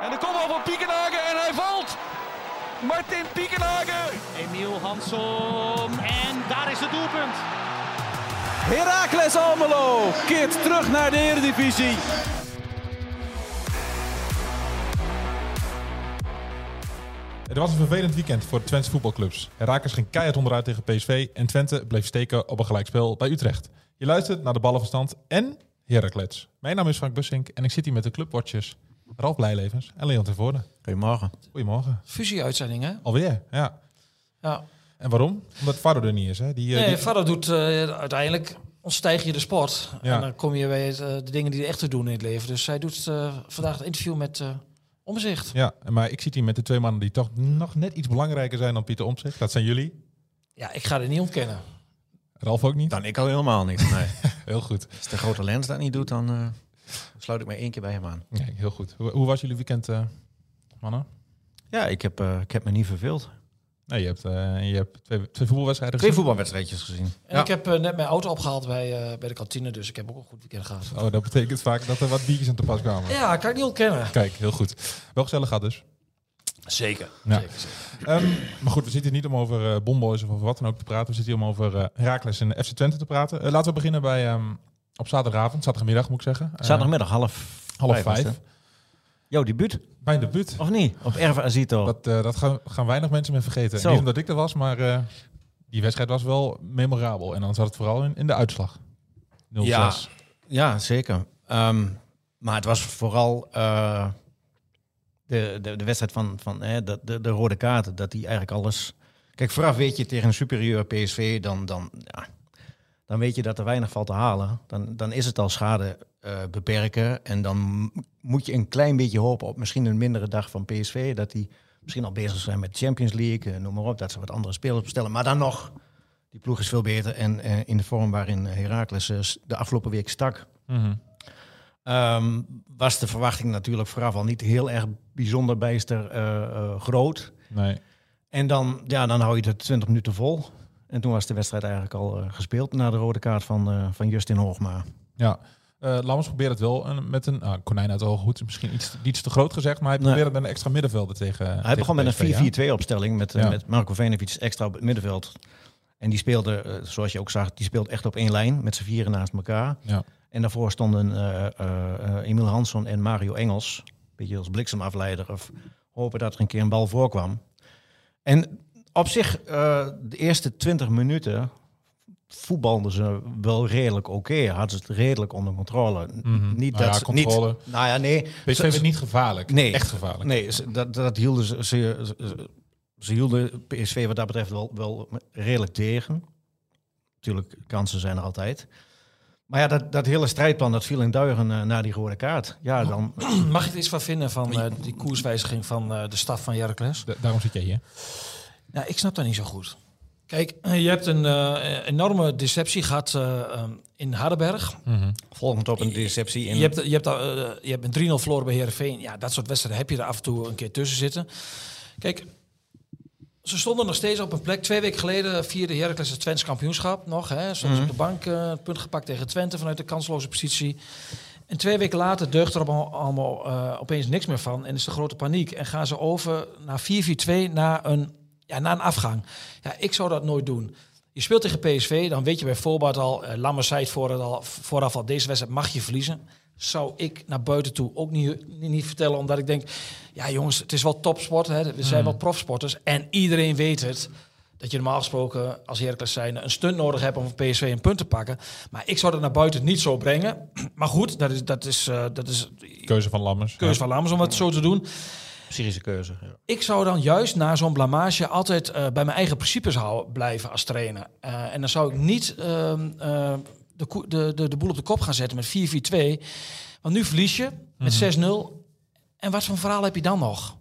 En de kopbal van Piekenhagen en hij valt. Martin Piekenhagen. Emiel Hansom. En daar is het doelpunt. Heracles Almelo keert terug naar de Eredivisie. Het was een vervelend weekend voor Twents voetbalclubs. Herakles ging keihard onderuit tegen PSV en Twente bleef steken op een gelijkspel bij Utrecht. Je luistert naar de ballenverstand en Heracles. Mijn naam is Frank Bussink en ik zit hier met de clubwatchers Ralf Blijlevens en Leon Tervoorde. Goedemorgen. Goedemorgen. Fusie-uitzending, hè? Alweer, ja. Ja. En waarom? Omdat Faro er niet is, hè? Die, eh, Nee, die- verder doet eh, uiteindelijk ontstijg je de sport. Ja. En dan kom je bij het, eh, de dingen die er echt te doen in het leven. Dus zij doet eh, vandaag het interview met eh Omzicht. Ja, maar ik zit hier met de twee mannen die toch nog net iets belangrijker zijn dan Pieter Omtzigt. Dat zijn jullie. Ja, ik ga dit niet ontkennen. Ralf ook niet. Dan ik al helemaal niet. Nee. Heel goed. Als de grote lens dat niet doet, dan eh, sluit ik mij één keer bij hem aan. Nee, heel goed. Hoe, hoe was jullie weekend, eh, mannen? Ja, ik heb, eh, ik heb me niet verveeld. Nee, je hebt, eh, je hebt twee, twee voetbalwedstrijden Twee voetbalwedstrijdjes gezien. En ik heb eh, net mijn auto opgehaald bij, eh, bij de kantine, dus ik heb ook een goed weekend gehad. Oh, dat betekent vaak dat er wat biertjes aan te pas kwamen. Ja, kan ik niet ontkennen. Kijk, heel goed. Wel gezellig gaat dus. Zeker. Ja. Zeker, zeker. Ehm, maar goed, we zitten hier niet om over eh, Bomboys of over wat dan ook te praten. We zitten hier om over eh Herakles en FC Twente te praten. Eh, laten we beginnen bij ehm, op zaterdagavond, zaterdagmiddag moet ik zeggen. Eh, Zaterdagmiddag half, half was vijf. het, hè? Jouw debuut, Mijn debuut. of niet? Op Erve Azito. Dat, eh, dat gaan, gaan weinig mensen meer vergeten. Zo. Niet omdat ik er was, maar eh, die wedstrijd was wel memorabel. En dan zat het vooral in, in de uitslag. 0-6. Ja. Ja, zeker. Ehm, maar het was vooral eh, de, de, de wedstrijd van, van hè, de, de, de rode kaarten. Dat die eigenlijk alles... Kijk, vooraf weet je tegen een superieur PSV, dan, dan, ja, dan weet je dat er weinig valt te halen. Dan, dan is het al schade eh, beperken. En dan m- moet je een klein beetje hopen op misschien een mindere dag van PSV. Dat die misschien al bezig zijn met de Champions League, eh, noem maar op. Dat ze wat andere spelers bestellen. Maar dan nog, die ploeg is veel beter. En eh, in de vorm waarin Heracles eh, s- de afgelopen week stak... Mhm. Ehm, was de verwachting natuurlijk vooraf al niet heel erg bijzonder bijster eh, eh, groot. Nee. En dan, ja, dan hou je het 20 minuten vol. En toen was de wedstrijd eigenlijk al eh, gespeeld na de rode kaart van, eh, van Justin Hoogma. Ja. Eh Lammers probeert het wel een- met een ah, konijn uit al goed. Misschien iets, iets te groot gezegd, maar hij Nee. probeert het met een extra middenvelder tegen. Hij tegen begon met PSV, ja. een 4-4-2 opstelling met, eh, Ja. met Marco Venevic extra op het middenveld. En die speelde, eh, zoals je ook zag, die speelt echt op één lijn met z'n vieren naast elkaar. Ja. En daarvoor stonden eh, eh, eh, Emiel Hansson en Mario Engels. Een beetje als bliksemafleider of hopen dat er een keer een bal voorkwam. En op zich, eh, de eerste 20 minuten voetbalden ze wel redelijk oké. Hadden ze het redelijk onder controle. Mhm. Niet Nou dat ja, ze- controle. Niet, nou ja, nee. PSV Ze- werd niet gevaarlijk. Nee. Echt gevaarlijk. Nee, ze- dat, dat hielden ze, ze, ze- ze hielden PSV wat dat betreft wel, wel redelijk tegen. Natuurlijk, kansen zijn er altijd. Maar ja, dat, dat hele strijdplan dat viel in duigen eh, na die rode kaart. Ja, dan, Mag je er iets van vinden van eh, die koerswijziging van eh, de staf van Heracles? Da- daarom zit jij hier. Nou, ik snap dat niet zo goed. Kijk, eh, je hebt een eh, enorme deceptie gehad eh, ehm, in Hardenberg. Mhm. volgend op een deceptie. In, Je hebt, je hebt, daar, eh, je hebt een 3-0 verloren bij Herenveen. Ja, dat soort wedstrijden heb je er af en toe een keer tussen zitten. Kijk, ze stonden nog steeds op een plek. Twee weken geleden vierde Heracles het Twents kampioenschap nog. Hè. Stonden ze op de bank, eh, het punt gepakt tegen Twente vanuit de kansloze positie. En twee weken later deugt er allemaal, allemaal eh, opeens niks meer van. En is de grote paniek. En gaan ze over naar 4-4-2, naar een, ja, naar een afgang. Ja, ik zou dat nooit doen. Je speelt tegen PSV, dan weet je bij voorbaat al, eh Lammers zei het voor het al, vooraf al, deze wedstrijd mag je verliezen. Zou ik naar buiten toe ook niet, niet, niet vertellen, omdat ik denk, ja jongens, het is wel topsport, hè, we zijn wel profsporters. En iedereen weet het, dat je normaal gesproken als Heracles zijn een stunt nodig hebt om van PSV een punt te pakken. Maar ik zou dat naar buiten niet zo brengen. Maar goed, dat is, dat is, eh, dat is Keuze van Lammers. keuze Ja. van Lammers om het zo te doen. Syrische keuze. Ja. Ik zou dan juist na zo'n blamage altijd eh, bij mijn eigen principes houden, blijven als trainer. Eh, en dan zou ik niet ehm, eh, de, koe- de, de, de boel op de kop gaan zetten met 4-4-2. Want nu verlies je met 6-0. En wat voor verhaal heb je dan nog?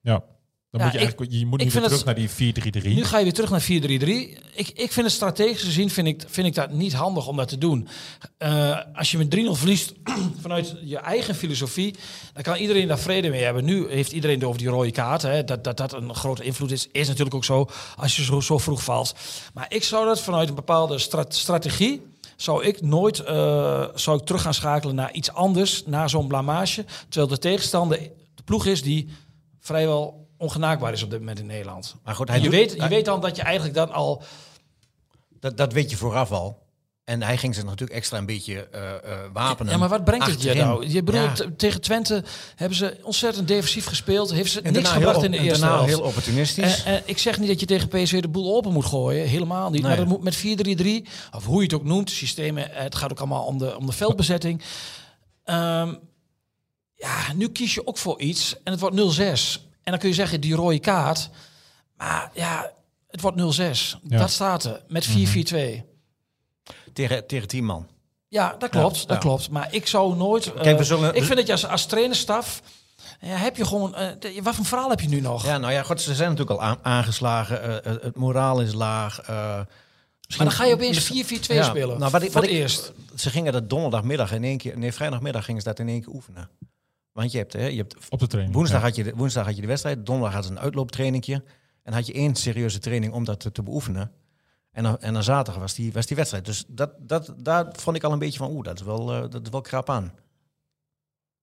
Ja. Dan Ja, moet je, ik- eigenlijk, je moet ik nu weer vind terug het- naar die 4-3-3. Nu ga je weer terug naar 4-3-3. Ik, ik vind het strategisch gezien vind ik, vind ik dat niet handig om dat te doen. Eh, als je met 3-0 verliest vanuit je eigen filosofie, dan kan iedereen daar vrede mee hebben. Nu heeft iedereen het over die rode kaart. Hè. Dat, dat dat een grote invloed is, is natuurlijk ook zo als je zo, zo vroeg valt. Maar ik zou dat vanuit een bepaalde stra- strategie zou ik nooit eh, zou ik terug gaan schakelen naar iets anders, naar zo'n blamage. Terwijl de tegenstander de ploeg is die vrijwel ongenaakbaar is op dit moment in Nederland. Maar goed, hij En je, doet- weet, je hij- weet dan dat je eigenlijk dan al... Dat, dat weet je vooraf al. En hij ging ze natuurlijk extra een beetje eh, eh, wapenen. Ja, maar wat brengt het je achterin. nou? Je bedoelt, Ja. t- tegen Twente hebben ze ontzettend defensief gespeeld. Heeft ze En niks daarna heel gebracht op- in de en eerste daarna helft. heel opportunistisch. Eh, eh, ik zeg niet dat je tegen PSV de boel open moet gooien. Helemaal niet. Nee. Maar dat moet met 4-3-3, of hoe je het ook noemt, systemen, eh, het gaat ook allemaal om de, om de veldbezetting. Ehm, ja, nu kies je ook voor iets en het wordt 0-6. En dan kun je zeggen, die rode kaart. Maar ja, het wordt 0-6. Ja. Dat staat er, met Mhm. 4-4-2. eh. tegen, tegen tien man. Ja, dat klopt. ja. dat klopt. Maar ik zou nooit. eh, Kijk, we zullen- ik vind dat je als, als trainerstaf. Ja, heb je gewoon. eh, de- wat voor verhaal heb je nu nog? Ja, nou ja, god, ze zijn natuurlijk al aan- aangeslagen. eh, eh, het moraal is laag. eh, maar dan ga je opeens 4-4-2 ja, spelen. Nou, wat ik, voor wat het ik, eerst. Ze gingen dat donderdagmiddag in één keer... Nee, vrijdagmiddag gingen ze dat in één keer oefenen. Want je hebt, hè, je hebt Op de training. Woensdag, ja. had je de, woensdag had je de wedstrijd, donderdag had ze een uitlooptrainingje. En had je één serieuze training om dat te, te beoefenen. En dan, en dan zaterdag was die, was die wedstrijd. Dus dat, dat, daar vond ik al een beetje van, oeh, dat is wel, eh, dat is wel krap aan.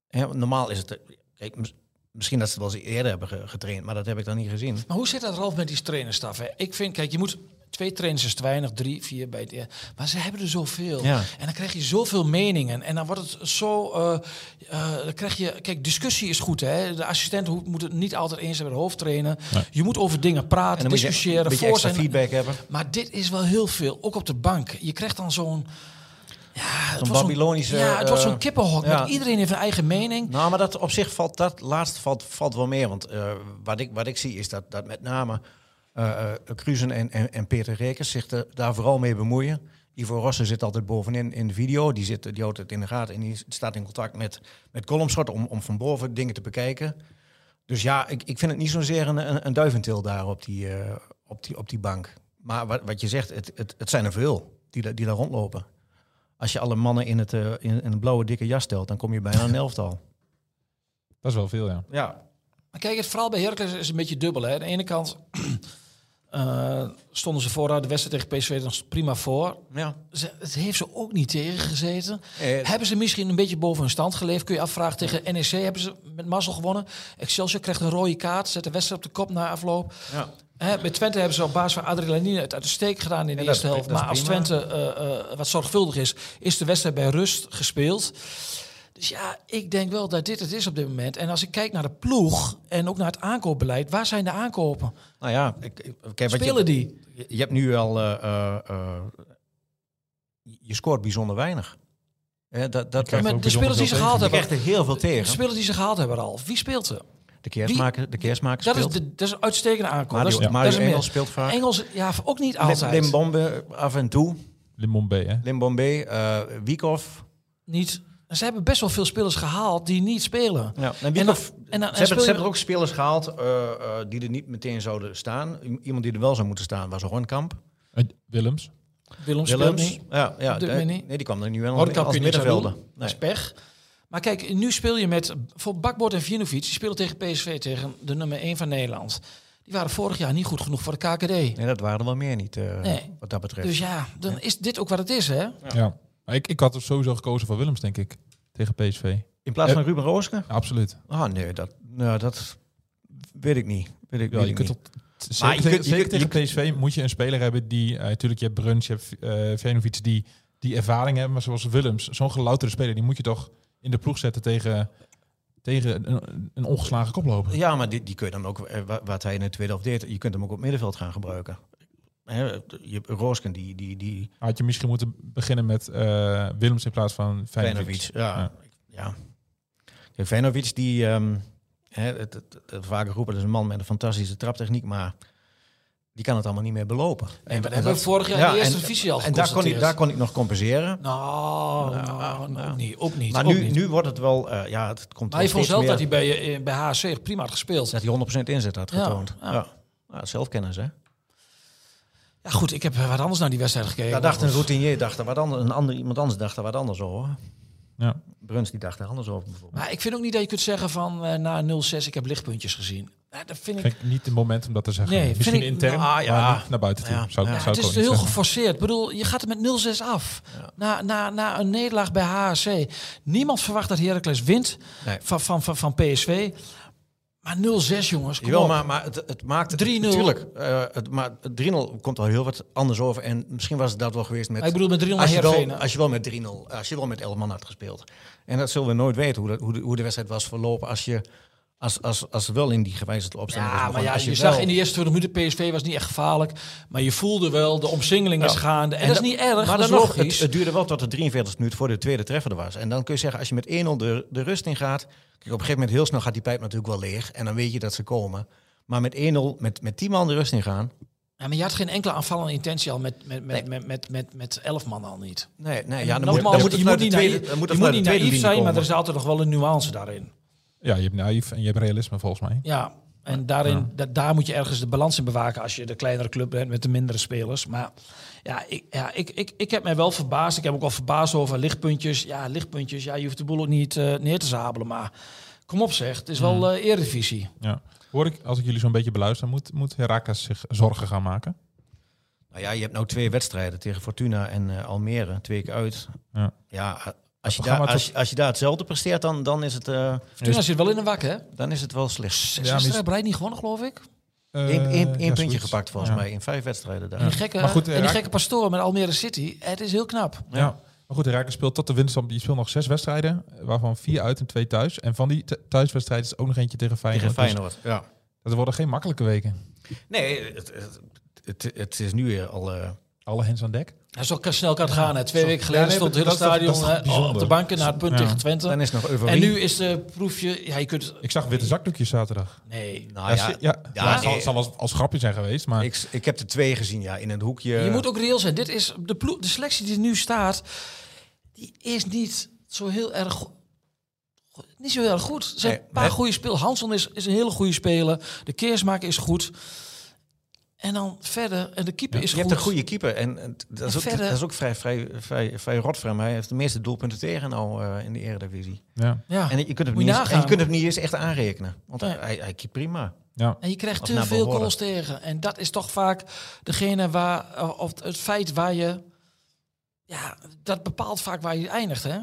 Hè, normaal is het... eh, Kijk, mis- misschien dat ze het wel eens eerder hebben ge- getraind, maar dat heb ik dan niet gezien. Maar hoe zit dat, Ralf, met die trainerstaf? Hè? Ik vind, kijk, je moet... Twee trainers is te weinig, drie, vier bij het... e- Maar ze hebben er zoveel. Ja. En dan krijg je zoveel meningen. En dan wordt het zo... eh, eh, dan krijg je... Kijk, discussie is goed, hè. De assistent ho- moet het niet altijd eens zijn met de hoofdtrainer. Je moet over dingen En praten, dan moet je een discussiëren, beetje voor extra zijn... feedback hebben. Maar dit is wel heel veel, ook op de bank. Je krijgt dan zo'n... Ja, het wordt zo'n- Babylonische, Ja, het wordt eh, zo'n kippenhok. ja. Met iedereen heeft een eigen mening. Nou, maar dat op zich valt dat laatst valt, valt wel meer. Want eh, wat, ik, wat ik zie is dat, dat met name eh eh, Cruzen en, en, en Peter Rekers zich er- daar vooral mee bemoeien. Ivo Rossen zit altijd bovenin in de video. Die, zit, die houdt het in de gaten en die staat in contact met, met Columnschot om, om van boven dingen te bekijken. Dus ja, ik, ik vind het niet zozeer een, een, een duiventil daar op die, eh, op die, op die bank. Maar wat, wat je zegt, het, het, het zijn er veel die, daar- die daar rondlopen. Als je alle mannen in, het, eh, in, in een blauwe dikke jas stelt, dan kom je bijna een elftal. Dat is wel veel, ja. Ja, Maar kijk, het verhaal bij Heracles is een beetje dubbel. Hè. Aan de ene kant eh, stonden ze vooruit de wedstrijd tegen PSV dan prima voor. ja. Ze, het heeft ze ook niet tegengezeten. Eh, hebben ze misschien een beetje boven hun stand geleefd? Kun je afvragen. Tegen NEC hebben ze met mazzel gewonnen. Excelsior krijgt een rode kaart, zet de wedstrijd op de kop na afloop. Ja. Hè, bij Twente hebben ze op basis van adrenaline het uit de steek gedaan in de Ja, dat is eerste helft. pri- dat Maar is als prima. Twente eh, eh, wat zorgvuldig is, is de wedstrijd bij rust gespeeld. Dus ja, ik denk wel dat dit het is op dit moment. En als ik kijk naar de ploeg en ook naar het aankoopbeleid, waar zijn de aankopen? Nou ja, ik, ik- kijk, wat je, Spelen die? je- je hebt nu al... eh, eh, eh, je scoort bijzonder weinig. Hè, dat, dat, krijgt je Met de bijzonder spelers die ze veel gehaald hebben. krijgt er heel veel De tegen. spelers die ze gehaald hebben, Ralf. Wie speelt er? De kerstmaker, de kerstmaker Dat is, speelt. de, dat is een uitstekende aankoop. Mario- dat is, Mario dat is een Engels meer. speelt vaak. Engels, ja, ook niet Lim- altijd. Limbombe af en toe. Limbombe, hè? Limbombe, eh Wiekoff. niet. En Ze hebben best wel veel spelers gehaald die niet spelen. Ja, en en dan- Wiekoff- en dan- en ze, hebben, speel ze je- hebben er ook spelers gehaald eh, eh, die er niet meteen zouden staan. I- Iemand die er wel zou moeten staan was Hornkamp. Eh, Willems. Willem speelt Willems. niet. Ja, ja, Op dit de- moment niet. nee, die kwam er nu wel Houtkamp als kun je niks aan middenvelder. doen. Dat Nee. is pech. Maar kijk, nu speel je met voor Bakbord en Vinovic. Die spelen tegen PSV, tegen de nummer 1 van Nederland. Die waren vorig jaar niet goed genoeg voor de KKD. nee, dat waren er wel meer niet eh, Nee. wat dat betreft. Dus ja, dan is dit ook wat het is, hè? Ja. Maar ik, ik had er sowieso gekozen voor Willems, denk ik. Tegen PSV. In plaats Eh, van Ruben Rooske? Ja, absoluut. Ah, nee, dat, nou, dat weet ik niet. Weet ik, Ja, weet je ik kunt niet. op, zeker, je tegen- kunt- je zeker kunt- je tegen PSV moet je een speler hebben die... eh, Natuurlijk, je hebt Bruns, je hebt eh Venovic die, die ervaring hebben. Maar zoals Willems, zo'n geloutere speler... die moet je toch in de ploeg zetten tegen, tegen een, een ongeslagen koploper. Ja, maar die, die kun je dan ook, eh, wa- wat hij in het tweede half deed, je kunt hem ook op middenveld gaan gebruiken. Hè, je Roosken, die, die, die Had je misschien moeten beginnen met eh, Willems in plaats van Venovic. Venovic. Ja, ja. Kijk, Venovic, die ehm, hè, het, het, het vaker roepen, dat is een man met een fantastische traptechniek, maar die kan het allemaal niet meer belopen. maar dat hebben we vorig jaar in de eerste divisie al En daar kon, ik, geconstateerd. daar kon ik nog compenseren. Nou, nou, ook niet. Ook niet Maar ook nu, niet. nu wordt het wel, eh, ja, het komt maar wel hij vond steeds zelf meer- dat hij bij, eh, bij HC prima had gespeeld. Dat hij 100% inzet had Ja, getoond. ja. Ja, Nou, zelfkennis, hè? Ja, goed, ik heb eh, wat anders naar die wedstrijd gekeken. Daar dacht een Maar goed. routinier, dacht er wat anders, een ander, iemand anders dacht er wat anders over. Ja. Bruns die dacht er anders over bijvoorbeeld. Maar ik vind ook niet dat je kunt zeggen van eh, na 0-6, ik heb lichtpuntjes gezien. Ja, dat vind ik... Vind ik niet het moment om dat te zeggen. Nee, vind Misschien ik- intern, nou, ja. maar niet naar buiten toe. ah, Ja. Zou, Ja, zou Ja, ik het ook is niet heel zeggen. geforceerd. Ik bedoel, je gaat er met 0-6 af. Na, na, na een nederlaag bij HAC. Niemand verwacht dat Heracles wint Nee. van, van, van, van PSV. Maar 0-6, jongens. Kom Jawel, op. maar, maar het, het maakt... 3-0. Tuurlijk, eh, het, maar het 3-0 komt al heel wat anders over. En misschien was het dat wel geweest met... Maar ik bedoel met 3-0 als je, Heerenveen, wel, hè? als je wel met 3-0, als je wel met 11 man had gespeeld. En dat zullen we nooit weten, hoe, dat, hoe, de, hoe de wedstrijd was verlopen als je... Als, als, als wel in die gewijzigde opstelling was Ja, maar begonnen. ja, Als je, wel- zag in de eerste 20 minuten PSV was niet echt gevaarlijk. Maar je voelde wel, de omsingeling is gaande. En, dat is dan- niet erg, Maar dat is dan nog, logisch. het, het duurde wel tot de 43 minuut voor de tweede treffer er was. En dan kun je zeggen, als je met 1-0 de, de rust in gaat... Kijk, op een gegeven moment heel snel gaat die pijp natuurlijk wel leeg. En dan weet je dat ze komen. Maar met 1-0, met, met 10 man de rust in gaan... Ja, maar je had geen enkele aanvallende intentie al met, met, met, met, met, met, met elf man al niet. Nee, nee, ja, dan Nogmaals, moet, dan moet je het moet vanuit de niet tweede- naïef- dan moet je het moet vanuit niet de tweede naïef linie zijn, maar komen. er is altijd nog wel een nuance daarin. Ja, je hebt naïef en je hebt realisme volgens mij. Ja, en daarin, da- daar moet je ergens de balans in bewaken als je de kleinere club bent met de mindere spelers. Maar ja, ik, ja, ik, ik, ik heb mij wel verbaasd. Ik heb ook al verbaasd over lichtpuntjes. Ja, lichtpuntjes. Ja, je hoeft de boel ook niet eh, neer te zabelen. Maar kom op zeg, het is wel eh eredivisie. Ja. Hoor ik, als ik jullie zo'n beetje beluister, moet, moet Herakles zich zorgen gaan maken? Nou ja, je hebt nou twee wedstrijden tegen Fortuna en eh, Almere, twee keer uit. Ja. Ja, als, je programma daar, als, je- als je daar hetzelfde presteert, dan, dan, is, het, eh, Toen zit wel in een wak, hè? dan is het wel slecht. Zes Ja, maar is- wedstrijden bereid niet gewonnen, geloof ik. Eh, Eén één- ja, één zoiets. puntje gepakt volgens Ja. mij in vijf wedstrijden daar. En die gekke, Maar goed, eh, en die Raak- gekke pastoor met Almere City. Het is heel knap. Ja. Maar goed, Herakles speelt tot de winststand. Die speelt nog zes wedstrijden, eh, waarvan vier uit en twee thuis. En van die th- thuiswedstrijden is er ook nog eentje tegen Feyenoord. Tegen Dus Feyenoord. Ja. dat worden geen makkelijke weken. Nee, het, het, het, het is nu weer al... eh, Alle hens aan dek. Dat is ook snel kan het gaan. Hè. Twee weken geleden nee, stond het hele dat is stadion toch- dat is toch hè, eh, op de bijzonder? banken na het punt Ja. tegen Twente. dan is het nog en euforie. nu is de proefje... Ja, je kunt... Ik zag witte zakdoekjes zaterdag. Nee. Nou ja, ja, ja, ja, het zal, nee. zal als, als grapje zijn geweest, maar ik, ik heb er twee gezien, ja, in een hoekje. Je moet ook reëel zijn. Dit is de, ploeg- de selectie die er nu staat, die is niet zo heel erg go- go- Niet zo heel erg goed. Er zijn Nee, een paar nee. goede spelers. Hanson is, is een hele goede speler. De keersmaker is goed. En dan verder. En de keeper is je goed. hebt een goede keeper. En, en t- dat, is ook, verder- dat is ook vrij, vrij, vrij, vrij rot voor hem. Hij heeft de meeste doelpunten tegen nou eh, in de Eredivisie. ja, Ja. En je kunt hem Ah, Moet niet je eens, en nagaan. je kunt hem niet eens echt aanrekenen. Want Nee. hij, hij keept prima. ja. En je krijgt Of te naar veel behoren. goals tegen. En dat is toch vaak degene waar, of het feit waar je, ja, dat bepaalt vaak waar je eindigt, hè?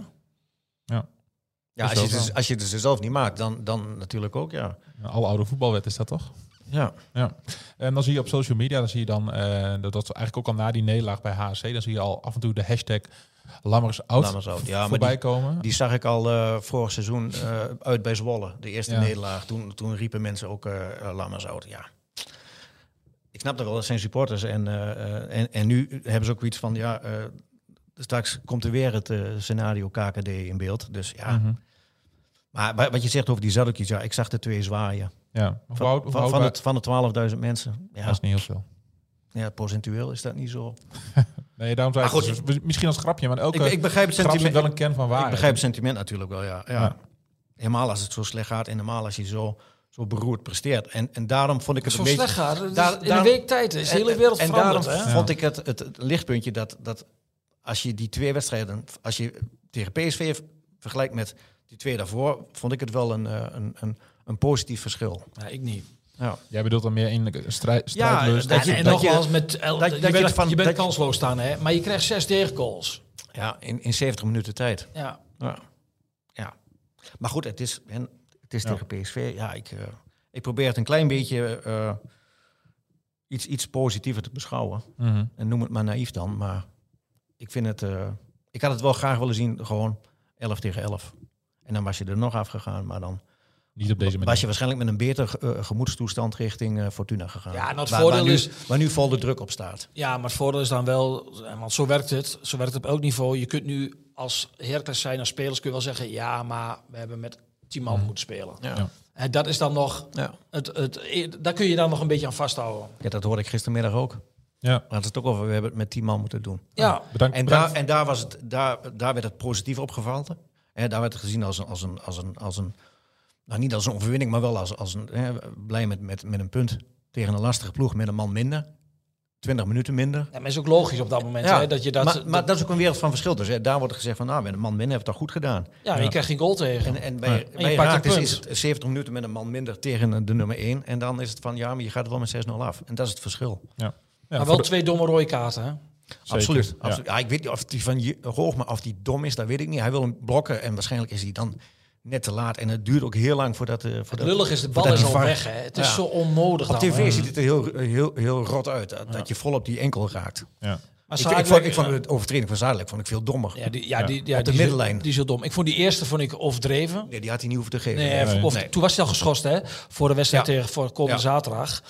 Ja, als Is je, wel het dus, zo. als je het dus zelf niet maakt, dan, dan natuurlijk ook, ja. Alle oude voetbalwet is dat toch? Ja, En dan zie je op social media, dan zie je dan, eh, dat dat is eigenlijk ook al na die nederlaag bij HC, dan zie je al af en toe de hashtag Lammers out Lammers out, ja, maar voorbij komen. die zag ik al eh, vorig seizoen eh, uit bij Zwolle. De eerste Ja. nederlaag. Toen, toen riepen mensen ook eh eh, Lammers out, ja. Ik snap dat wel, dat zijn supporters. En, eh, eh, en, en nu hebben ze ook iets van, ja, eh, straks komt er weer het eh, scenario KKD in beeld. Dus ja. Mhm. Maar wa- wat je zegt over die zaddoekjes, ja, ik zag de twee zwaaien. Ja, hoe Van, oud- hoe van, oud van, wa- het, van de 12.000 mensen. Dat Ja, is niet heel veel. ja, procentueel is dat niet zo. Nee, daarom zei ik, Maar dus misschien als grapje, maar elke Ik, ik begrijp het grap heeft sentiment. wel een kern van waarheid. ik begrijp het sentiment natuurlijk wel, ja. ja. Ja. Helemaal als het zo slecht gaat en helemaal als je zo, zo beroerd presteert. En, en daarom vond ik het Zo een beetje... slecht gaat. het. daar- Dus in daarom- een week tijd is de hele wereld en veranderd, daarom hè? vond ik het, het, het lichtpuntje dat, dat als je die twee wedstrijden, als je tegen PSV v- vergelijkt met die twee daarvoor, vond ik het wel een, eh, een, een, een positief verschil. Ja, ik niet. Ja. Jij bedoelt dan meer in eh, strij- Ja, strijdlust. dat en je- en dat je- nogmaals, met, el- dat je- je, dat je bent, ervan- je bent dat je- kansloos staan, hè? Maar je krijgt zes tegengoals. Ja, in, in 70 minuten tijd. Ja. Ja. ja. Maar goed, het is, en het is Ja. tegen PSV. Ja, ik, eh, ik probeer het een klein beetje eh, iets, iets positiever te beschouwen. Mhm. En noem het maar naïef dan. Maar ik vind het... eh, ik had het wel graag willen zien, gewoon 11 tegen 11. En dan was je er nog afgegaan, maar dan Niet op deze was manier. je waarschijnlijk met een beter eh, gemoedstoestand richting eh, Fortuna gegaan. Ja, en het Waar- voordeel waar nu, is- Waar nu vol de druk op staat. Ja, maar het voordeel is dan wel, eh, want zo werkt het. Zo werkt het op elk niveau. Je kunt nu als Heracles zijn, als spelers, kun je wel zeggen... ja, maar we hebben met tien Hmm. man moeten spelen. Ja. En dat is dan nog, Ja. het, het, eh, daar kun je dan nog een beetje aan vasthouden. Ja, dat hoorde ik gistermiddag ook. Ja. Laten we het ook over, we hebben het met 10 man moeten doen. Ja, Bedankt. En, bedankt. daar, en daar, was het, daar, daar werd het positief opgevallen. Hè, daar werd het gezien als een, als een, als een, als een nou niet als een overwinning, maar wel als, als een, hè, blij met, met, met een punt tegen een lastige ploeg met een man minder. 20 minuten minder. Ja, maar is ook logisch op dat moment hè, dat je dat... maar, dat- maar dat is ook een wereld van verschil. Dus hè, daar wordt gezegd van, nou, met een man minder heeft het toch goed gedaan. ja, maar je krijgt geen goal tegen. En, en bij, je bij pakt Heracles een is punt. het 70 minuten met een man minder tegen de nummer 1. En dan is het van, ja, maar je gaat wel met 6-0 af. En dat is het verschil. Ja. Ja, maar voor wel de- twee domme rode kaarten, hè? Zeker, Absoluut. ja. absoluut. Ja, ik weet niet of die van Je- Hoogma of die dom is, dat weet ik niet. Hij wil hem blokken en waarschijnlijk is hij dan net te laat. En het duurt ook heel lang voordat... eh voordat Lullig is de bal voordat is die al VAR weg, hè? Het is Ja. zo onnodig Op dan, eh, hè. tv ziet het er heel, heel, heel rot uit. Dat, dat je vol op die enkel raakt. ja. Maar Ik, Zadelijk- eh, ik, vond, ik vond de overtreding van Zadelijk vond ik veel dommer. Ja, die, ja, die, ja, Op de die is- middenlijn. Die is heel dom. Ik vond die eerste vond ik overdreven. Nee, die had hij niet hoeven te geven. Nee, Nee. Of, Nee. Toen was hij al geschorst, hè? Voor de wedstrijd Ja. tegen voor Ja. komende zaterdag.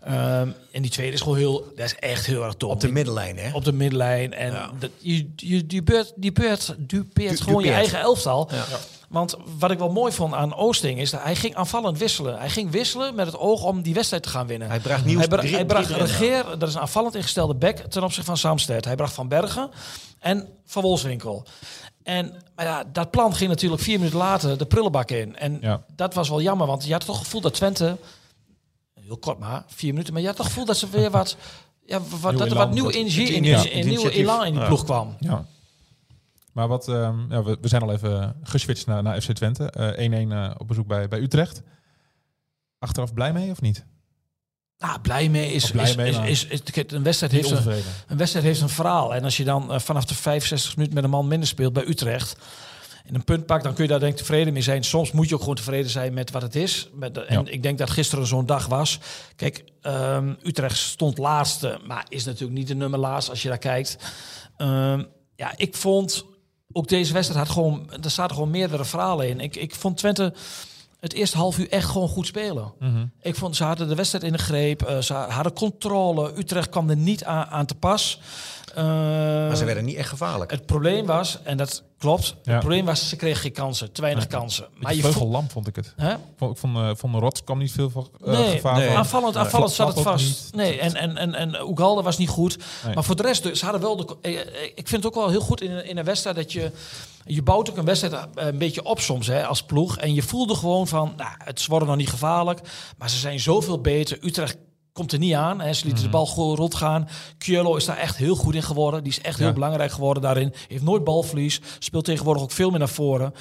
Ehm, en die tweede is gewoon heel... Dat is echt heel erg dom. Op de middenlijn, hè? op de middenlijn. En dat, je, je dupeert, dupeert, dupeert Du- gewoon je dupeert. eigen elftal. Ja. Want wat ik wel mooi vond aan Oosting is dat hij ging aanvallend wisselen. Hij ging wisselen met het oog om die wedstrijd te gaan winnen. Hij bracht Nieuws Hij, bra- drie- hij bracht drie erin. Regeer, dat is een aanvallend ingestelde back ten opzichte van Samsted. Hij bracht Van Bergen en Van Wolfswinkel. En maar ja, dat plan ging natuurlijk vier minuten later de prullenbak in. En Ja. dat was wel jammer, want je had toch het gevoel dat Twente heel kort maar, vier minuten. Maar je had toch het gevoel dat ze weer wat, ja, wat, Nieuw dat er elan, wat nieuwe dat- energie het in, initiatief. en nieuwe Initiatief. elan in die Ja. ploeg kwam. Ja. Maar wat, ehm, ja, we, we zijn al even geswitcht naar, naar FC Twente. Eh, 1-1 eh, op bezoek bij, bij Utrecht. Achteraf blij mee of niet? Nou, blij mee is, Of blij is, mee, is, maar- is, is- kijk, een, wedstrijd Niet heeft een, ontevreden. een wedstrijd heeft een verhaal. En als je dan eh, vanaf de 65 minuten met een man minder speelt bij Utrecht... en een punt pakt, dan kun je daar denk ik tevreden mee zijn. Soms moet je ook gewoon tevreden zijn met wat het is. Met de- en Ja. ik denk dat gisteren zo'n dag was. Kijk, ehm, Utrecht stond laatste, maar is natuurlijk niet de nummer laatst als je daar kijkt. Ehm, ja, ik vond ook deze wedstrijd had gewoon, er zaten gewoon meerdere verhalen in. Ik, ik vond Twente het eerste half uur echt gewoon goed spelen. Mhm. Ik vond ze hadden de wedstrijd in de greep, eh, ze hadden controle. Utrecht kwam er niet aan, aan te pas. Eh, Maar ze werden niet echt gevaarlijk. het probleem was, en dat klopt, Ja. het probleem was ze kregen geen kansen, te weinig kansen. Maar Beetje je voelt, vleugellamp vond ik het. hè? Ik vond, ik vond, eh, vond de rots kwam niet veel van, eh, Nee, gevaar nee. van. aanvallend, Nee. aanvallend zat Flap het ook vast. niet. Nee, en, en, en, en eh, Ugalde was niet goed. Nee. Maar voor de rest, ze hadden wel de, eh, eh, ik vind het ook wel heel goed in, een- in een wedstrijd dat je... Je bouwt ook een wedstrijd eh, een beetje op soms hè, als ploeg. En je voelde gewoon van, nou, het worden nog niet gevaarlijk. Maar ze zijn zoveel beter. Utrecht komt er niet aan. Hè. Ze Mhm. lieten de bal gewoon rot gaan. Cielo is daar echt heel goed in geworden. Die is echt heel belangrijk geworden daarin. Heeft nooit balverlies. Speelt tegenwoordig ook veel meer naar voren.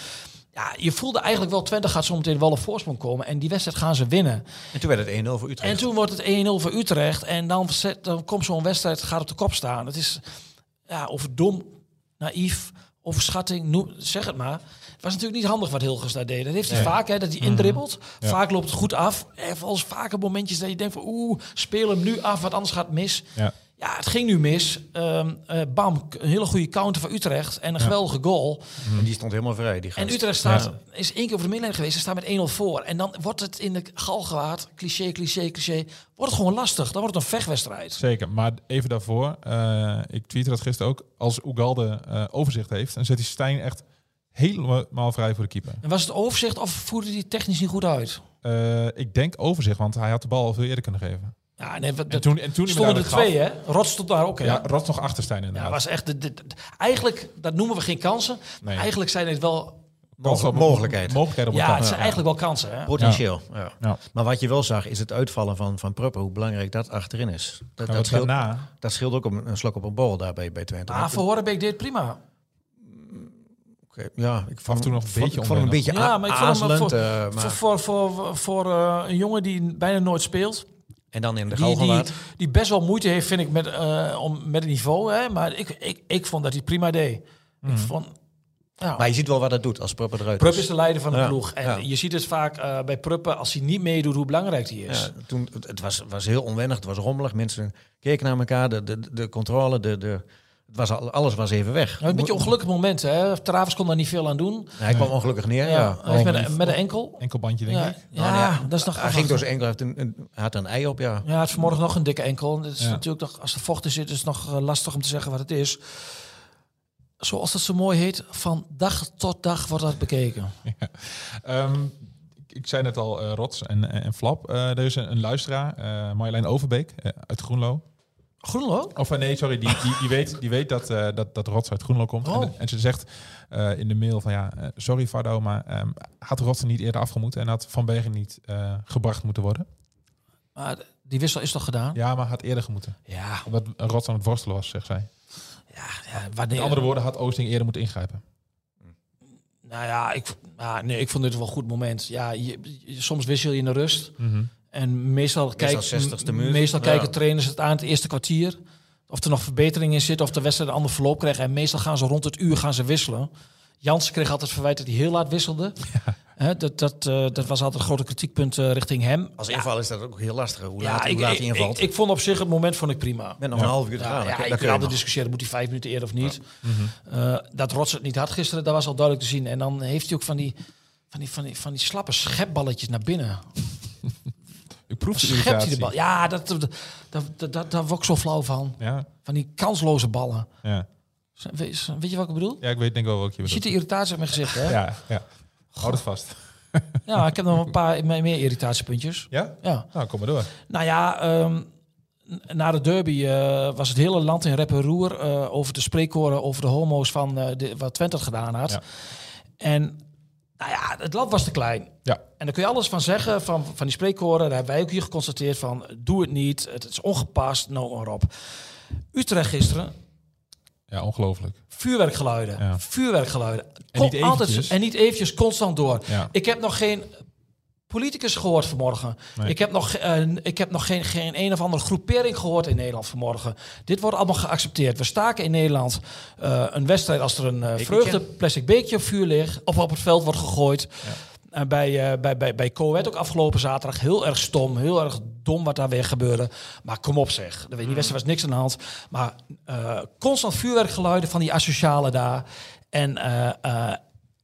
Ja, je voelde eigenlijk wel, Twente gaat zometeen wel op voorsprong komen. En die wedstrijd gaan ze winnen. En toen werd het 1-0 voor Utrecht. En toen wordt het 1-0 voor Utrecht. En dan, zet, dan komt zo'n wedstrijd, gaat op de kop staan. Het is ja, of dom, naïef, of schatting, noem, zeg het maar. Het was natuurlijk niet handig wat Hilgers daar deed. Dat heeft hij vaak, hè, dat hij indribbelt. Ja. Vaak loopt het goed af. En volgens vaker momentjes dat je denkt van... oeh, speel hem nu af, want anders gaat het mis. Ja. Ja, het ging nu mis. Ehm, eh, bam, een hele goede counter van Utrecht. En een geweldige goal. En die stond helemaal vrij. Die En gast. Utrecht staat, is één keer over de middenlijn geweest. Ze staan met 1-0 voor. En dan wordt het in de galgewaard, cliché, cliché, cliché. Wordt het gewoon lastig. Dan wordt het een vechtwedstrijd. Zeker, maar even daarvoor. eh, ik tweette dat gisteren ook. Als Ugalde eh, overzicht heeft, dan zet hij Stijn echt helemaal vrij voor de keeper. En was het overzicht of voerde die technisch niet goed uit? Eh, ik denk overzicht, want hij had de bal al veel eerder kunnen geven. Ja, nee, wat- En dat, toen, en toen hij hem stonden er duidelijk gaf- twee, hè? Rot stond daar ook, hè? Ja, Ja, Rots nog achter Stijn inderdaad. was echt de, de- de- eigenlijk, dat noemen we geen kansen. Nee. Eigenlijk zijn het wel, Mogel- mogelijkheid. Mogelijkheid op ja, elkaar. het zijn eigenlijk wel kansen, hè? Potentieel. Ja. Ja. Nou, Maar wat je wel zag is het uitvallen van, van Pruppen, hoe belangrijk dat achterin is. Dat, Maar dat, wat scheelt, daarna? dat scheelt ook een, een slok op een bol daarbij bij Twente. Maar voor Hornebeek deed het prima. Oké, Ja, ik Af en vond toe nog een vond- beetje ik vond hem een onwennig. beetje Ja, maar ik vond hem azelend, voor, eh, maar- voor, voor, voor, voor, eh, een jongen die bijna nooit speelt. En dan in de die, die, galgenwaard. die best wel moeite heeft, vind ik, met, eh, om, met het niveau. Hè? Maar ik, ik, ik vond dat hij het prima deed. Ik vond, ja. Mhm. Maar je ziet wel wat dat doet als Pruppen eruit Prupp is is. de leider van de Ja, ploeg. En ja. je ziet het vaak eh, bij Pruppen, als hij niet meedoet, hoe belangrijk hij is. Ja, toen, het het was, was heel onwennig, het was rommelig. Mensen keken naar elkaar, de, de, de controle, de, de, het was, al- alles was even weg. Nou, een beetje ongelukkig moment. Hè? Travers kon daar niet veel aan doen. Hij kwam ongelukkig neer, ja. Ja, hij heeft met, Ongelukkig. een- met een enkel. Enkel bandje, denk Ja, ik. ja, dat is nog Nou, Hij ging door zijn enkel, hij heeft een, een- hij had een ei op, ja. Ja, het is vanmorgen nog een dikke enkel. En Het is Ja. natuurlijk nog, als de vocht in zit, is het nog eh, lastig om te zeggen wat het is. Zoals dat zo mooi heet, van dag tot dag wordt dat bekeken. Ehm, ik, ik zei net al, eh, Rots en, en, en Flap. Eh, er is een, een luisteraar, eh Marjolein Overbeek eh, uit Groenlo. Groenlo? Of eh, nee, sorry, die, die, die weet, die weet dat, eh, dat, dat Rots uit Groenlo komt. Oh. En, en ze zegt eh, in de mail van ja, eh, sorry Fardo, maar ehm, Oh. had Rots er niet eerder afgemoet en had Van Bergen niet eh, gebracht moeten worden? Maar d- Die wissel is toch gedaan? Ja, maar had eerder moeten. Ja, Omdat Rots aan het worstelen was, zegt zij. ja, ja, wanneer... Met andere woorden, had Oosting eerder moeten ingrijpen. Nou ja, ik, ah, nee, ik vond dit wel een goed moment. Ja, je- je- soms wissel je in de rust. En meestal, kijken- 60ste m- minuut. meestal Ja. kijken trainers het aan het eerste kwartier. Of er nog verbetering in zit, of de wedstrijd een ander verloop krijgt. En meestal gaan ze rond het uur gaan ze wisselen. Jansen kreeg altijd verwijt dat hij heel laat wisselde. Hè, dat, dat, eh, dat was altijd een grote kritiekpunt eh, richting hem. Als inval is dat ook heel lastig. hè, Hoe Ja, laat, hoe ik, laat ik, hij invalt. ik- ik vond op zich het moment vond ik prima. Met nog een half uur te Ja, gaan. ja, dan kun- dan ik kun kan je altijd nog. discussiëren, moet hij vijf minuten eerder of niet. Eh, dat Rots het niet had gisteren, dat was al duidelijk te zien. En dan heeft hij ook van die, van die, van die, van die slappe schepballetjes naar binnen. Ik proef Dan de schept hij de irritatie. bal. Ja, dat, dat, dat, dat, dat, daar word ik zo flauw van. Ja, Van die kansloze ballen. ja. Weet, weet je wat ik bedoel? ja, ik weet denk wel welke je Je ziet de bedoelt. irritatie op mijn gezicht, hè? Ja, Ja, ja. Houd het vast. ik heb nog een paar me- meer irritatiepuntjes. Ja? Ja. Nou, kom maar door. Nou ja, ehm, n- na de derby eh, was het hele land in rep en roer eh, over de spreekkoren over de homo's van eh, de, wat Twente had gedaan had. Ja. En nou ja, het land was te klein. Ja. En daar kun je alles van zeggen, van, van die spreekkoren. Daar hebben wij ook hier geconstateerd van, doe het niet, het is ongepast, nou maar op. Utrecht gisteren, Ja, ongelooflijk. vuurwerkgeluiden, Ja. vuurwerkgeluiden. En niet Kon- altijd, eventjes. en niet eventjes, constant door. Ja. Ik heb nog geen politicus gehoord vanmorgen. Nee. Ik heb nog, ge- eh, ik heb nog geen, geen een of andere groepering gehoord in Nederland vanmorgen. Dit wordt allemaal geaccepteerd. We staken in Nederland eh, een wedstrijd als er een eh, vreugdeplastic beekje op vuur ligt... of op het veld wordt gegooid... Eh, bij, eh, bij, bij, bij Coët ook afgelopen zaterdag heel erg stom. Heel erg dom wat daar weer gebeurde. Maar kom op zeg. Er weet- Mm. Die wedstrijd was niks aan de hand. Maar eh, constant vuurwerkgeluiden van die asocialen daar. En eh, eh,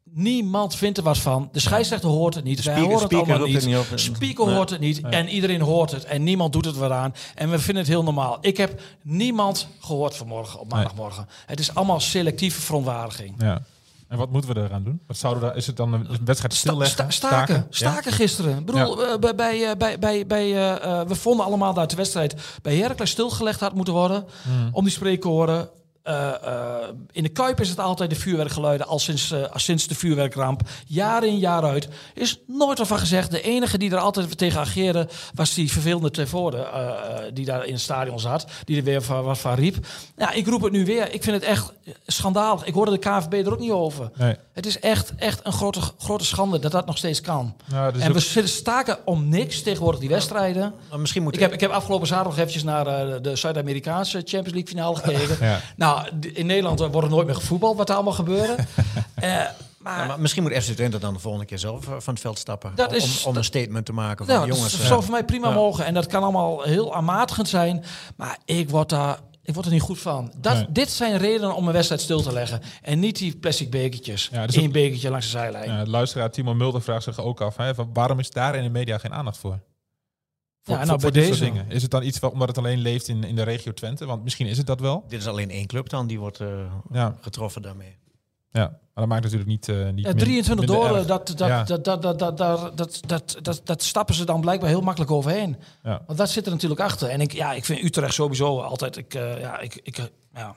niemand vindt er wat van. De scheidsrechter hoort het niet. Wij speaker- horen het speaker allemaal roept niet. het niet op. speaker hoort het niet. En iedereen hoort het. En niemand doet het waaraan. En we vinden het heel normaal. Ik heb niemand gehoord vanmorgen op maandagmorgen. Het is allemaal selectieve verontwaardiging. Ja. En wat moeten we eraan doen? Wat zouden we daar, is het dan een wedstrijd Sta- stilleggen? sta- staken. Ja? Staken gisteren. Ik bedoel, eh, bij, bij, eh, bij, bij, bij, eh, eh, we vonden allemaal dat de wedstrijd bij Heracles stilgelegd had moeten worden. Om die spreekkoren. Eh, eh, in de Kuip is het altijd de vuurwerkgeluiden. Al sinds, eh, al sinds de vuurwerkramp. Jaar in, jaar uit. Is nooit wat van gezegd. De enige die er altijd tegen ageerde. was die vervelende Tevoorde. eh, eh, die daar in het stadion zat. Die er weer van, wat van riep. Ja, ik roep het nu weer. Ik vind het echt schandalig. Ik hoorde de KVB er ook niet over. Nee. Het is echt, echt een grote, grote schande dat dat nog steeds kan. Nou, dat is en we ook- zitten staken om niks tegenwoordig die wedstrijden. Maar misschien moet dus- Ik eh, heb, ik heb afgelopen zaterdag nog eventjes naar eh, de Zuid-Amerikaanse Champions League finale gekeken. Ja. Nou, d- in Nederland eh, wordt er nooit meer gevoetbald wat er allemaal gebeurde. Eh, maar, Ja, maar misschien moet FC Twente dan de volgende keer zelf eh, van het veld stappen. Dat om, is- om een statement te maken van ja, jongens. dat eh, zou dus voor mij prima mogen. En dat kan allemaal heel aanmatigend zijn. Maar ik word daar... Ik word er niet goed van. Dat, Nee. Dit zijn redenen om een wedstrijd stil te leggen. En niet die plastic bekertjes. Ja, dus Eén ook- bekertje langs de zijlijn. Ja, eh, luisteraar Timo Mulder vraagt zich ook af, hè, van waarom is daar in de media geen aandacht voor? Voor, nou, voor, bij voor dit soort deze. dingen. Is het dan iets wat, omdat het alleen leeft in, in de regio Twente? Want misschien is het dat wel. Dit is alleen één club dan die wordt eh, Ja, getroffen daarmee. ja. maar dat maakt natuurlijk niet, eh niet Ja, min- 23 minder doren, erg. dat, dat, Ja. dat, dat, dat, dat, dat, dat, dat, dat stappen ze dan blijkbaar heel makkelijk overheen. Ja. Want dat zit er natuurlijk achter. En ik, ja, ik vind Utrecht sowieso altijd... Ik, eh, ja, ik, ik, eh, ja.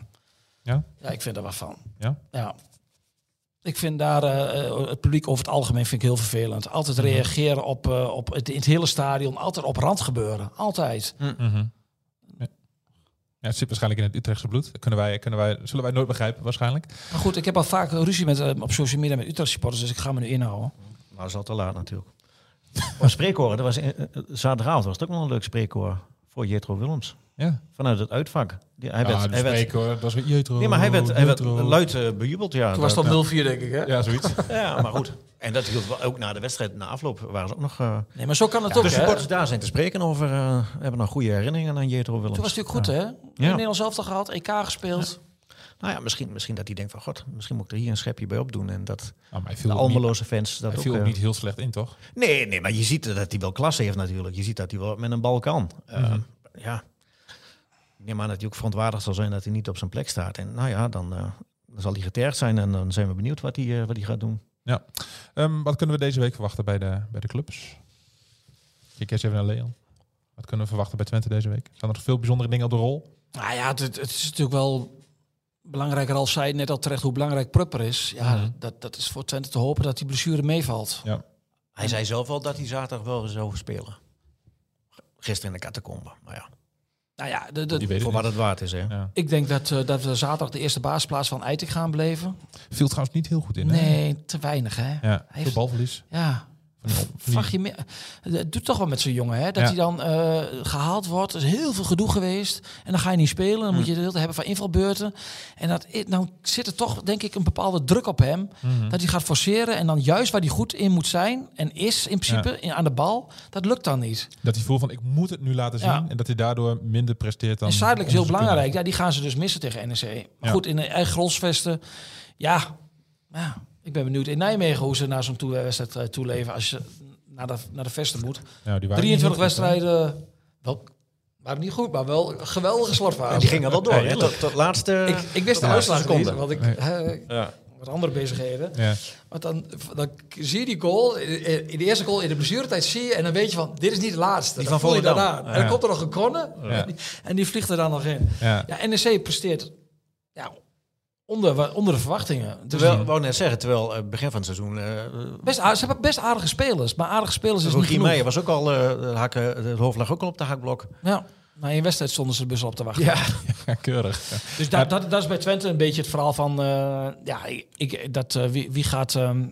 Ja? ja, ik vind er wat van. Ja? Ja. Ik vind daar eh, eh, het publiek over het algemeen vind ik heel vervelend. Altijd Mhm. reageren op, eh, op het, in het hele stadion. Altijd op rand gebeuren. Altijd. Mhm. Ja. Ja, het zit waarschijnlijk in het Utrechtse bloed. Dat Kunnen wij, kunnen wij, zullen wij nooit begrijpen, waarschijnlijk. Maar goed, ik heb al vaak ruzie met, eh, op social media met Utrecht supporters. Dus ik ga me nu inhouden. Nou, dat is al te laat natuurlijk. maar spreekkoren, dat was, in- eh, eh, zaterdagavond was het ook nog een leuk spreekkoor voor Jetro Willems. Ja, Vanuit het uitvak. Die- Hij ja werd, hij werd, hoor. Dat was weer Jetro. nee, maar hij werd, hij werd Jetro. luid eh, bejubeld. Ja, Toen was Dat- dat 0-4 denk ik, hè? Ja, zoiets. Ah, ja, maar goed. En dat hield wel- ook na de wedstrijd, na afloop, waren ze ook nog... eh, Nee, maar zo kan het de ook, hè? supporters daar zijn te spreken over. eh, hebben nog goede herinneringen aan Jetro Willems. Toen was het natuurlijk goed, hè? In Nederland zelf gehad, EK gespeeld. Nou ja, misschien, misschien dat hij denkt van... God, misschien moet ik er hier een schepje bij opdoen. En dat Nou, maar hij de viel, ook niet, Almeloze fans dat hij ook... viel ook eh, niet heel slecht in, toch? Nee, nee, maar je ziet dat hij wel klasse heeft natuurlijk. Je ziet dat hij wel met een bal kan. Eh, Mhm. Ja. Ik neem aan dat hij ook verontwaardigd zal zijn dat hij niet op zijn plek staat. En nou ja, dan, eh, dan zal hij getergd zijn en dan zijn we benieuwd wat hij, eh, wat hij gaat doen. Ja. Ehm, wat kunnen we deze week verwachten bij de, bij de clubs? Kijk eens even naar Leon. Wat kunnen we verwachten bij Twente deze week? Zijn er nog veel bijzondere dingen op de rol? Nou ja, het, het het is natuurlijk wel belangrijker als zij net al terecht hoe belangrijk Prupper is. Ja, dat, dat is voor Twente te hopen dat die blessure meevalt. Ja. Hij zei zelf al dat hij zaterdag wel zou spelen. gisteren in de catacombe. Maar ja, Nou ja, de, Die de, weet voor het wat niet. het waard is, hè. Ja. ik denk dat, eh, dat we zaterdag de eerste basisplaats van Eitik gaan beleven. Viel trouwens niet heel goed in. Hè? Nee, te weinig hè. Ja, Hij veel heeft- balverlies. Ja. Van die- van die- Vraag je meer. Het doet toch wel met zo'n jongen, hè? Dat Ja. hij dan eh, gehaald wordt. Er is heel veel gedoe geweest. En dan ga je niet spelen. Dan moet je de hele tijd hebben van invalbeurten. En dat, i- nou zit er toch, denk ik, een bepaalde druk op hem. Mhm. Dat hij gaat forceren. En dan juist waar hij goed in moet zijn. En is in principe in, aan de bal. Dat lukt dan niet. Dat hij voelt van ik moet het nu laten zien. Ja. En dat hij daardoor minder presteert dan. en Zuidelijk is heel onze belangrijk. Ja, die gaan ze dus missen tegen NEC. Maar Ja. goed, in de eigen grolsvesten. Ja, ja, ik ben benieuwd in Nijmegen hoe ze naar zo'n toe- wedstrijd eh, toeleven. Als je naar de, naar de vesten moet. spelers. Ja, die waren niet 23 heel goed, hè? wedstrijden. Wel, waren niet goed, maar wel een geweldige En die slotfase. gingen wel door, hè. Tot, tot laatste... Ik, ik wist de Ja, uitslag niet, seconde. want ik Nee. hè, ik- Ja. wat andere bezigheden. Ja. Want dan, dan zie je die goal, eh, in in de eerste goal in de blessuretijd zie je en dan weet je van, dit is niet de laatste. Die Dan van voel je dat Volendam. aan. En dan Ja. komt er nog een corner Ja. en, die, en die vliegt er dan nog in. Ja. Ja, NEC presteert ja, onder, wa- onder de verwachtingen. Dus Terwijl, wou net zeggen, terwijl eh, begin van het seizoen... eh, best, aard- ze hebben best aardige spelers, maar aardige spelers is niet Rogier Meijer genoeg. was ook al... eh, hakken, het hoofd lag ook al op de hakblok. Ja, na één wedstrijd stonden ze de bus al op te wachten. Ja, keurig. Ja. Dus dat, dat, dat is bij Twente een beetje het verhaal van... eh, ja, ik, ik- dat, eh, wie, wie gaat... ehm,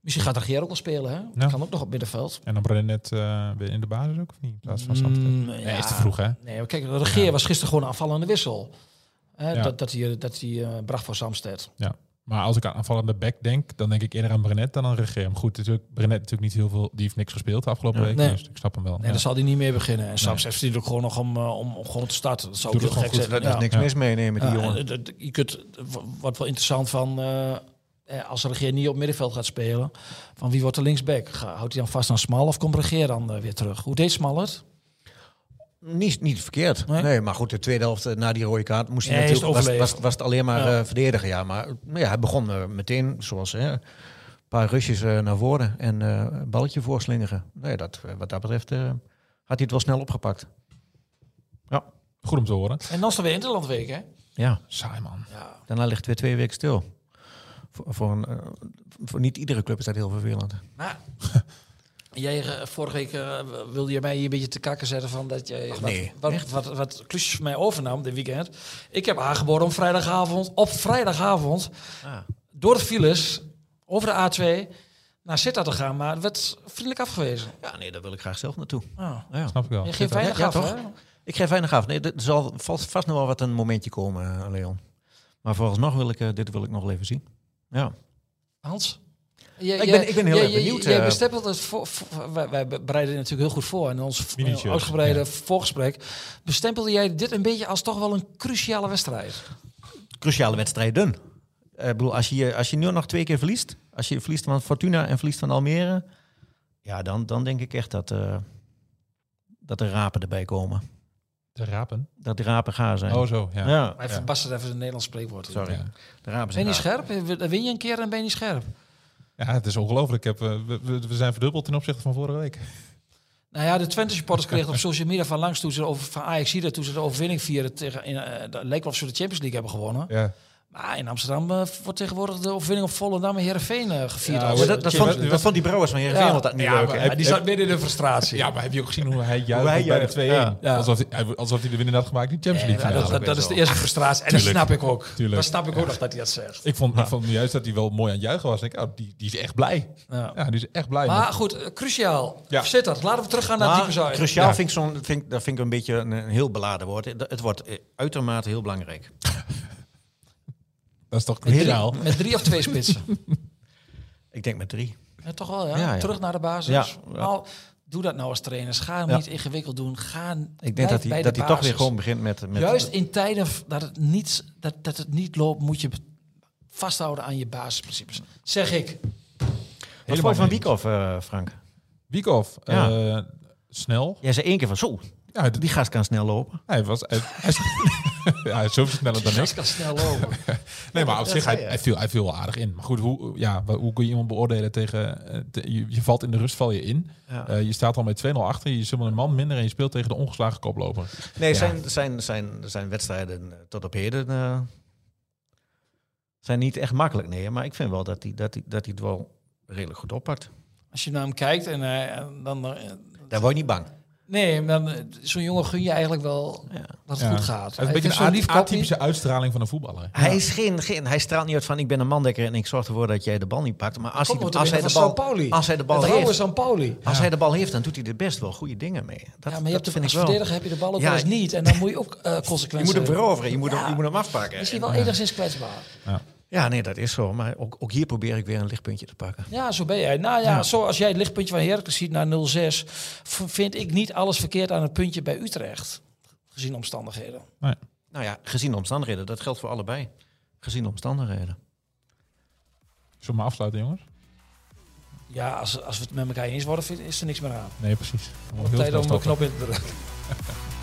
misschien gaat Regier ook wel spelen, hè? Ja. Die Kan ook nog op middenveld. En dan Brenet net eh, weer in de basis ook of niet? In plaats van Samsted. Mm, nee, ja. is te vroeg hè? Nee, maar kijk, Regier was gisteren gewoon een afvallende wissel. Hè, Ja. Dat, dat hij, dat hij eh, bracht voor Samsted. Ja. Maar als ik aan aanvallende back denk, dan denk ik eerder aan Brenet dan aan Regeer. Maar goed, natuurlijk, Brenet natuurlijk niet heel veel, die heeft niks gespeeld de afgelopen week. Nee. Dus ik snap hem wel. Nee, Ja. dan zal hij niet meer beginnen. En Samsted verdient ook gewoon nog om, eh, om, om gewoon te starten. Dat zou ook Doet heel het gek gewoon zijn. Daar goed. is Ja. niks Ja. mis mee, nee, met die Ja, jongen. en dat- dat- Je kunt, wat wel interessant van, eh, eh, als Regeer niet op middenveld gaat spelen, van wie wordt de linksback? Ga- Houdt hij dan vast aan Smal of komt Regeer dan eh, weer terug? Hoe deed Smal het? Niet, niet verkeerd. Nee? Nee? maar goed, de tweede helft eh, na die rode kaart moest hij Nee, hij is natuurlijk, was, overleefd. was, was het alleen maar Ja. eh, verdedigen. Ja, maar nou ja, hij begon eh, meteen, zoals hè, een paar rushes eh, naar voren en eh, een balletje voorslingeren. Nee, dat, eh, wat dat betreft eh, had hij het wel snel opgepakt. Goed om te horen. En dan is er weer Interlandweek, hè? Ja, Saai man. Ja. daarna ligt het weer twee weken stil. Voor, voor, een, eh, voor niet iedere club is dat heel vervelend. Maar jij, eh, vorige week eh, wilde je mij hier een beetje te kakken zetten van dat jij wat, nee, wat, wat, wat, klusjes van mij overnam dit weekend. Ik heb aangeboden om vrijdagavond, op vrijdagavond, Ah. door de files, over de A2, naar Sittard te gaan. Maar het werd vriendelijk afgewezen. Ja, nee, daar wil ik graag zelf naartoe. Ah. Ja. Snap ik wel. Je geeft Oh. Ja, weinig ja, af, toch? hè? Ik geef weinig af. Nee, er zal vast, vast nog wel wat een momentje komen, eh, Leon. Maar vooralsnog wil ik, eh, dit wil ik nog wel even zien. Ja. Hans? Jij- Ik ben- jij- ik ben heel erg jij- jij- benieuwd, Jij eh. bestempelt het voor, voor- wij, wij bereiden het natuurlijk heel goed voor. In ons v- Miniature, uitgebreide ja. voorgesprek bestempelde jij dit een beetje als toch wel een cruciale wedstrijd. Cruciale wedstrijden. Eh, Ik bedoel, als je, als je nu nog twee keer verliest, als je verliest van Fortuna en verliest van Almere, ja, dan, dan denk ik echt dat, eh, dat de rapen erbij komen. De rapen. Dat de rapen gaar zijn. Oh zo, ja. ja. Maar even Ja. Bastard even een Nederlands spreekwoord. in. sorry. Ja. De rapen Ben zijn je gaar. scherp? Dan Win je een keer en ben je niet scherp? Ja, het is ongelooflijk. Ik heb, eh, we- we, we zijn verdubbeld ten opzichte van vorige week. Nou ja, de Twente supporters kregen op social media van langs toen ze over, van Ajax hier toen ze de overwinning vierden tegen in, eh, dat leek wel of ze de Champions League hebben gewonnen. Ja. Maar in Amsterdam eh, wordt tegenwoordig de overwinning op Volendam en Heerenveen eh, gevierd. Ja, als, Maar eh, dat, dat, Champions- vond, dat vond die Brouwers van Heerenveen Ja. altijd niet Ja, leuk. maar hè? hij- Ja, die zat midden in de frustratie. ja, maar heb je ook gezien hoe hij Hoe hij juicht bij de 2-1? juicht. Ja. Alsof, hij, hij- alsof hij de winnaar had gemaakt in de Champions League. Ja, dat, finale. dat, dat is de eerste frustratie. En dat Tuurlijk. snap ik ook. Tuurlijk. Dat snap ik ook nog dat hij dat zegt. Ik vond, ik vond juist dat hij wel mooi aan het juichen was. Ik denk, oh, die, die is echt blij. Ja. Ja, die is echt blij. Maar goed, eh, cruciaal. Ja. Zit dat? Laten we teruggaan naar Maar diepe zuid. cruciaal Ja. vind ik zo'n, vind, ik- dat vind ik een beetje een, een heel beladen woord. Het het wordt eh, uitermate heel belangrijk. Dat is toch Drie- cruciaal? Met drie of twee spitsen. Ik denk met drie. Ja, toch wel, ja? Ja, ja. Terug naar de basis. Ja, ja. Nou, doe dat nou als trainers. Ga hem Ja. niet ingewikkeld doen. Ga Ik denk dat hij, dat hij toch weer gewoon begint met... met Juist in tijden v- dat het niet, dat, dat het niet loopt, moet je vasthouden aan je basisprincipes. Zeg ik. Wat vond je van Biekhoff, eh, Frank? Wiekhoff, Ja. eh, snel. Jij zei één keer van, zo, Ja, d- die gast kan snel lopen. hij was... Hij, hij is, ja, hij is zoveel sneller dan Dat ik. kan snel lopen. Nee, maar op zich, zei hij, je. hij, viel, hij viel wel aardig in. Maar goed, hoe, ja, wa- hoe kun je iemand beoordelen tegen... eh, te- je, je valt in de rust, val je in. Ja. Eh, je staat al met 2-0 achter. Je is helemaal een man minder en je speelt tegen de ongeslagen koploper. Nee, Ja. zijn, zijn, zijn, zijn wedstrijden eh, tot op heden eh, zijn niet echt makkelijk. Nee, maar ik vind wel dat hij, dat hij, dat hij het wel redelijk goed oppakt. Als je naar hem kijkt en eh, dan... eh, Daar word je niet bang. Nee, maar dan, eh, zo'n jongen gun je eigenlijk wel Ja. dat het Ja. goed gaat. Het is Hij een vindt beetje zo'n een lief a- kopje. atypische uitstraling van een voetballer. Hij, is geen, geen, hij straalt niet uit van ik ben een mandekker en ik zorg ervoor dat jij de bal niet pakt. Maar als, Komt hij, nog te als, hij, winnen de van bal, Sao Pauli. als hij de bal Het rauwe heeft, San Pauli. als hij de bal heeft, dan doet hij er best wel goede dingen mee. Dat, Ja, maar je dat hebt de, vind als ik wel. verdediger heb je de bal ook Ja, wel eens niet. En dan moet je ook eh consequenties Je moet hem hebben. veroveren, je moet, hem, Ja. je moet hem afpakken. Is hij wel enigszins kwetsbaar? Ja, nee, dat is zo. Maar ook, ook hier probeer ik weer een lichtpuntje te pakken. Ja, zo ben jij. Nou ja, zo als jij het lichtpuntje van Heracles ziet naar 06, v- vind ik niet alles verkeerd aan het puntje bij Utrecht. Gezien omstandigheden. Nou ja, gezien de omstandigheden, dat geldt voor allebei. Gezien de omstandigheden. Zullen we maar afsluiten, jongens? Ja, als, als we het met elkaar eens worden, vind- is er niks meer aan. Nee, precies. Dan moet ik heel Tijd snel om de stoppen. knop in te drukken.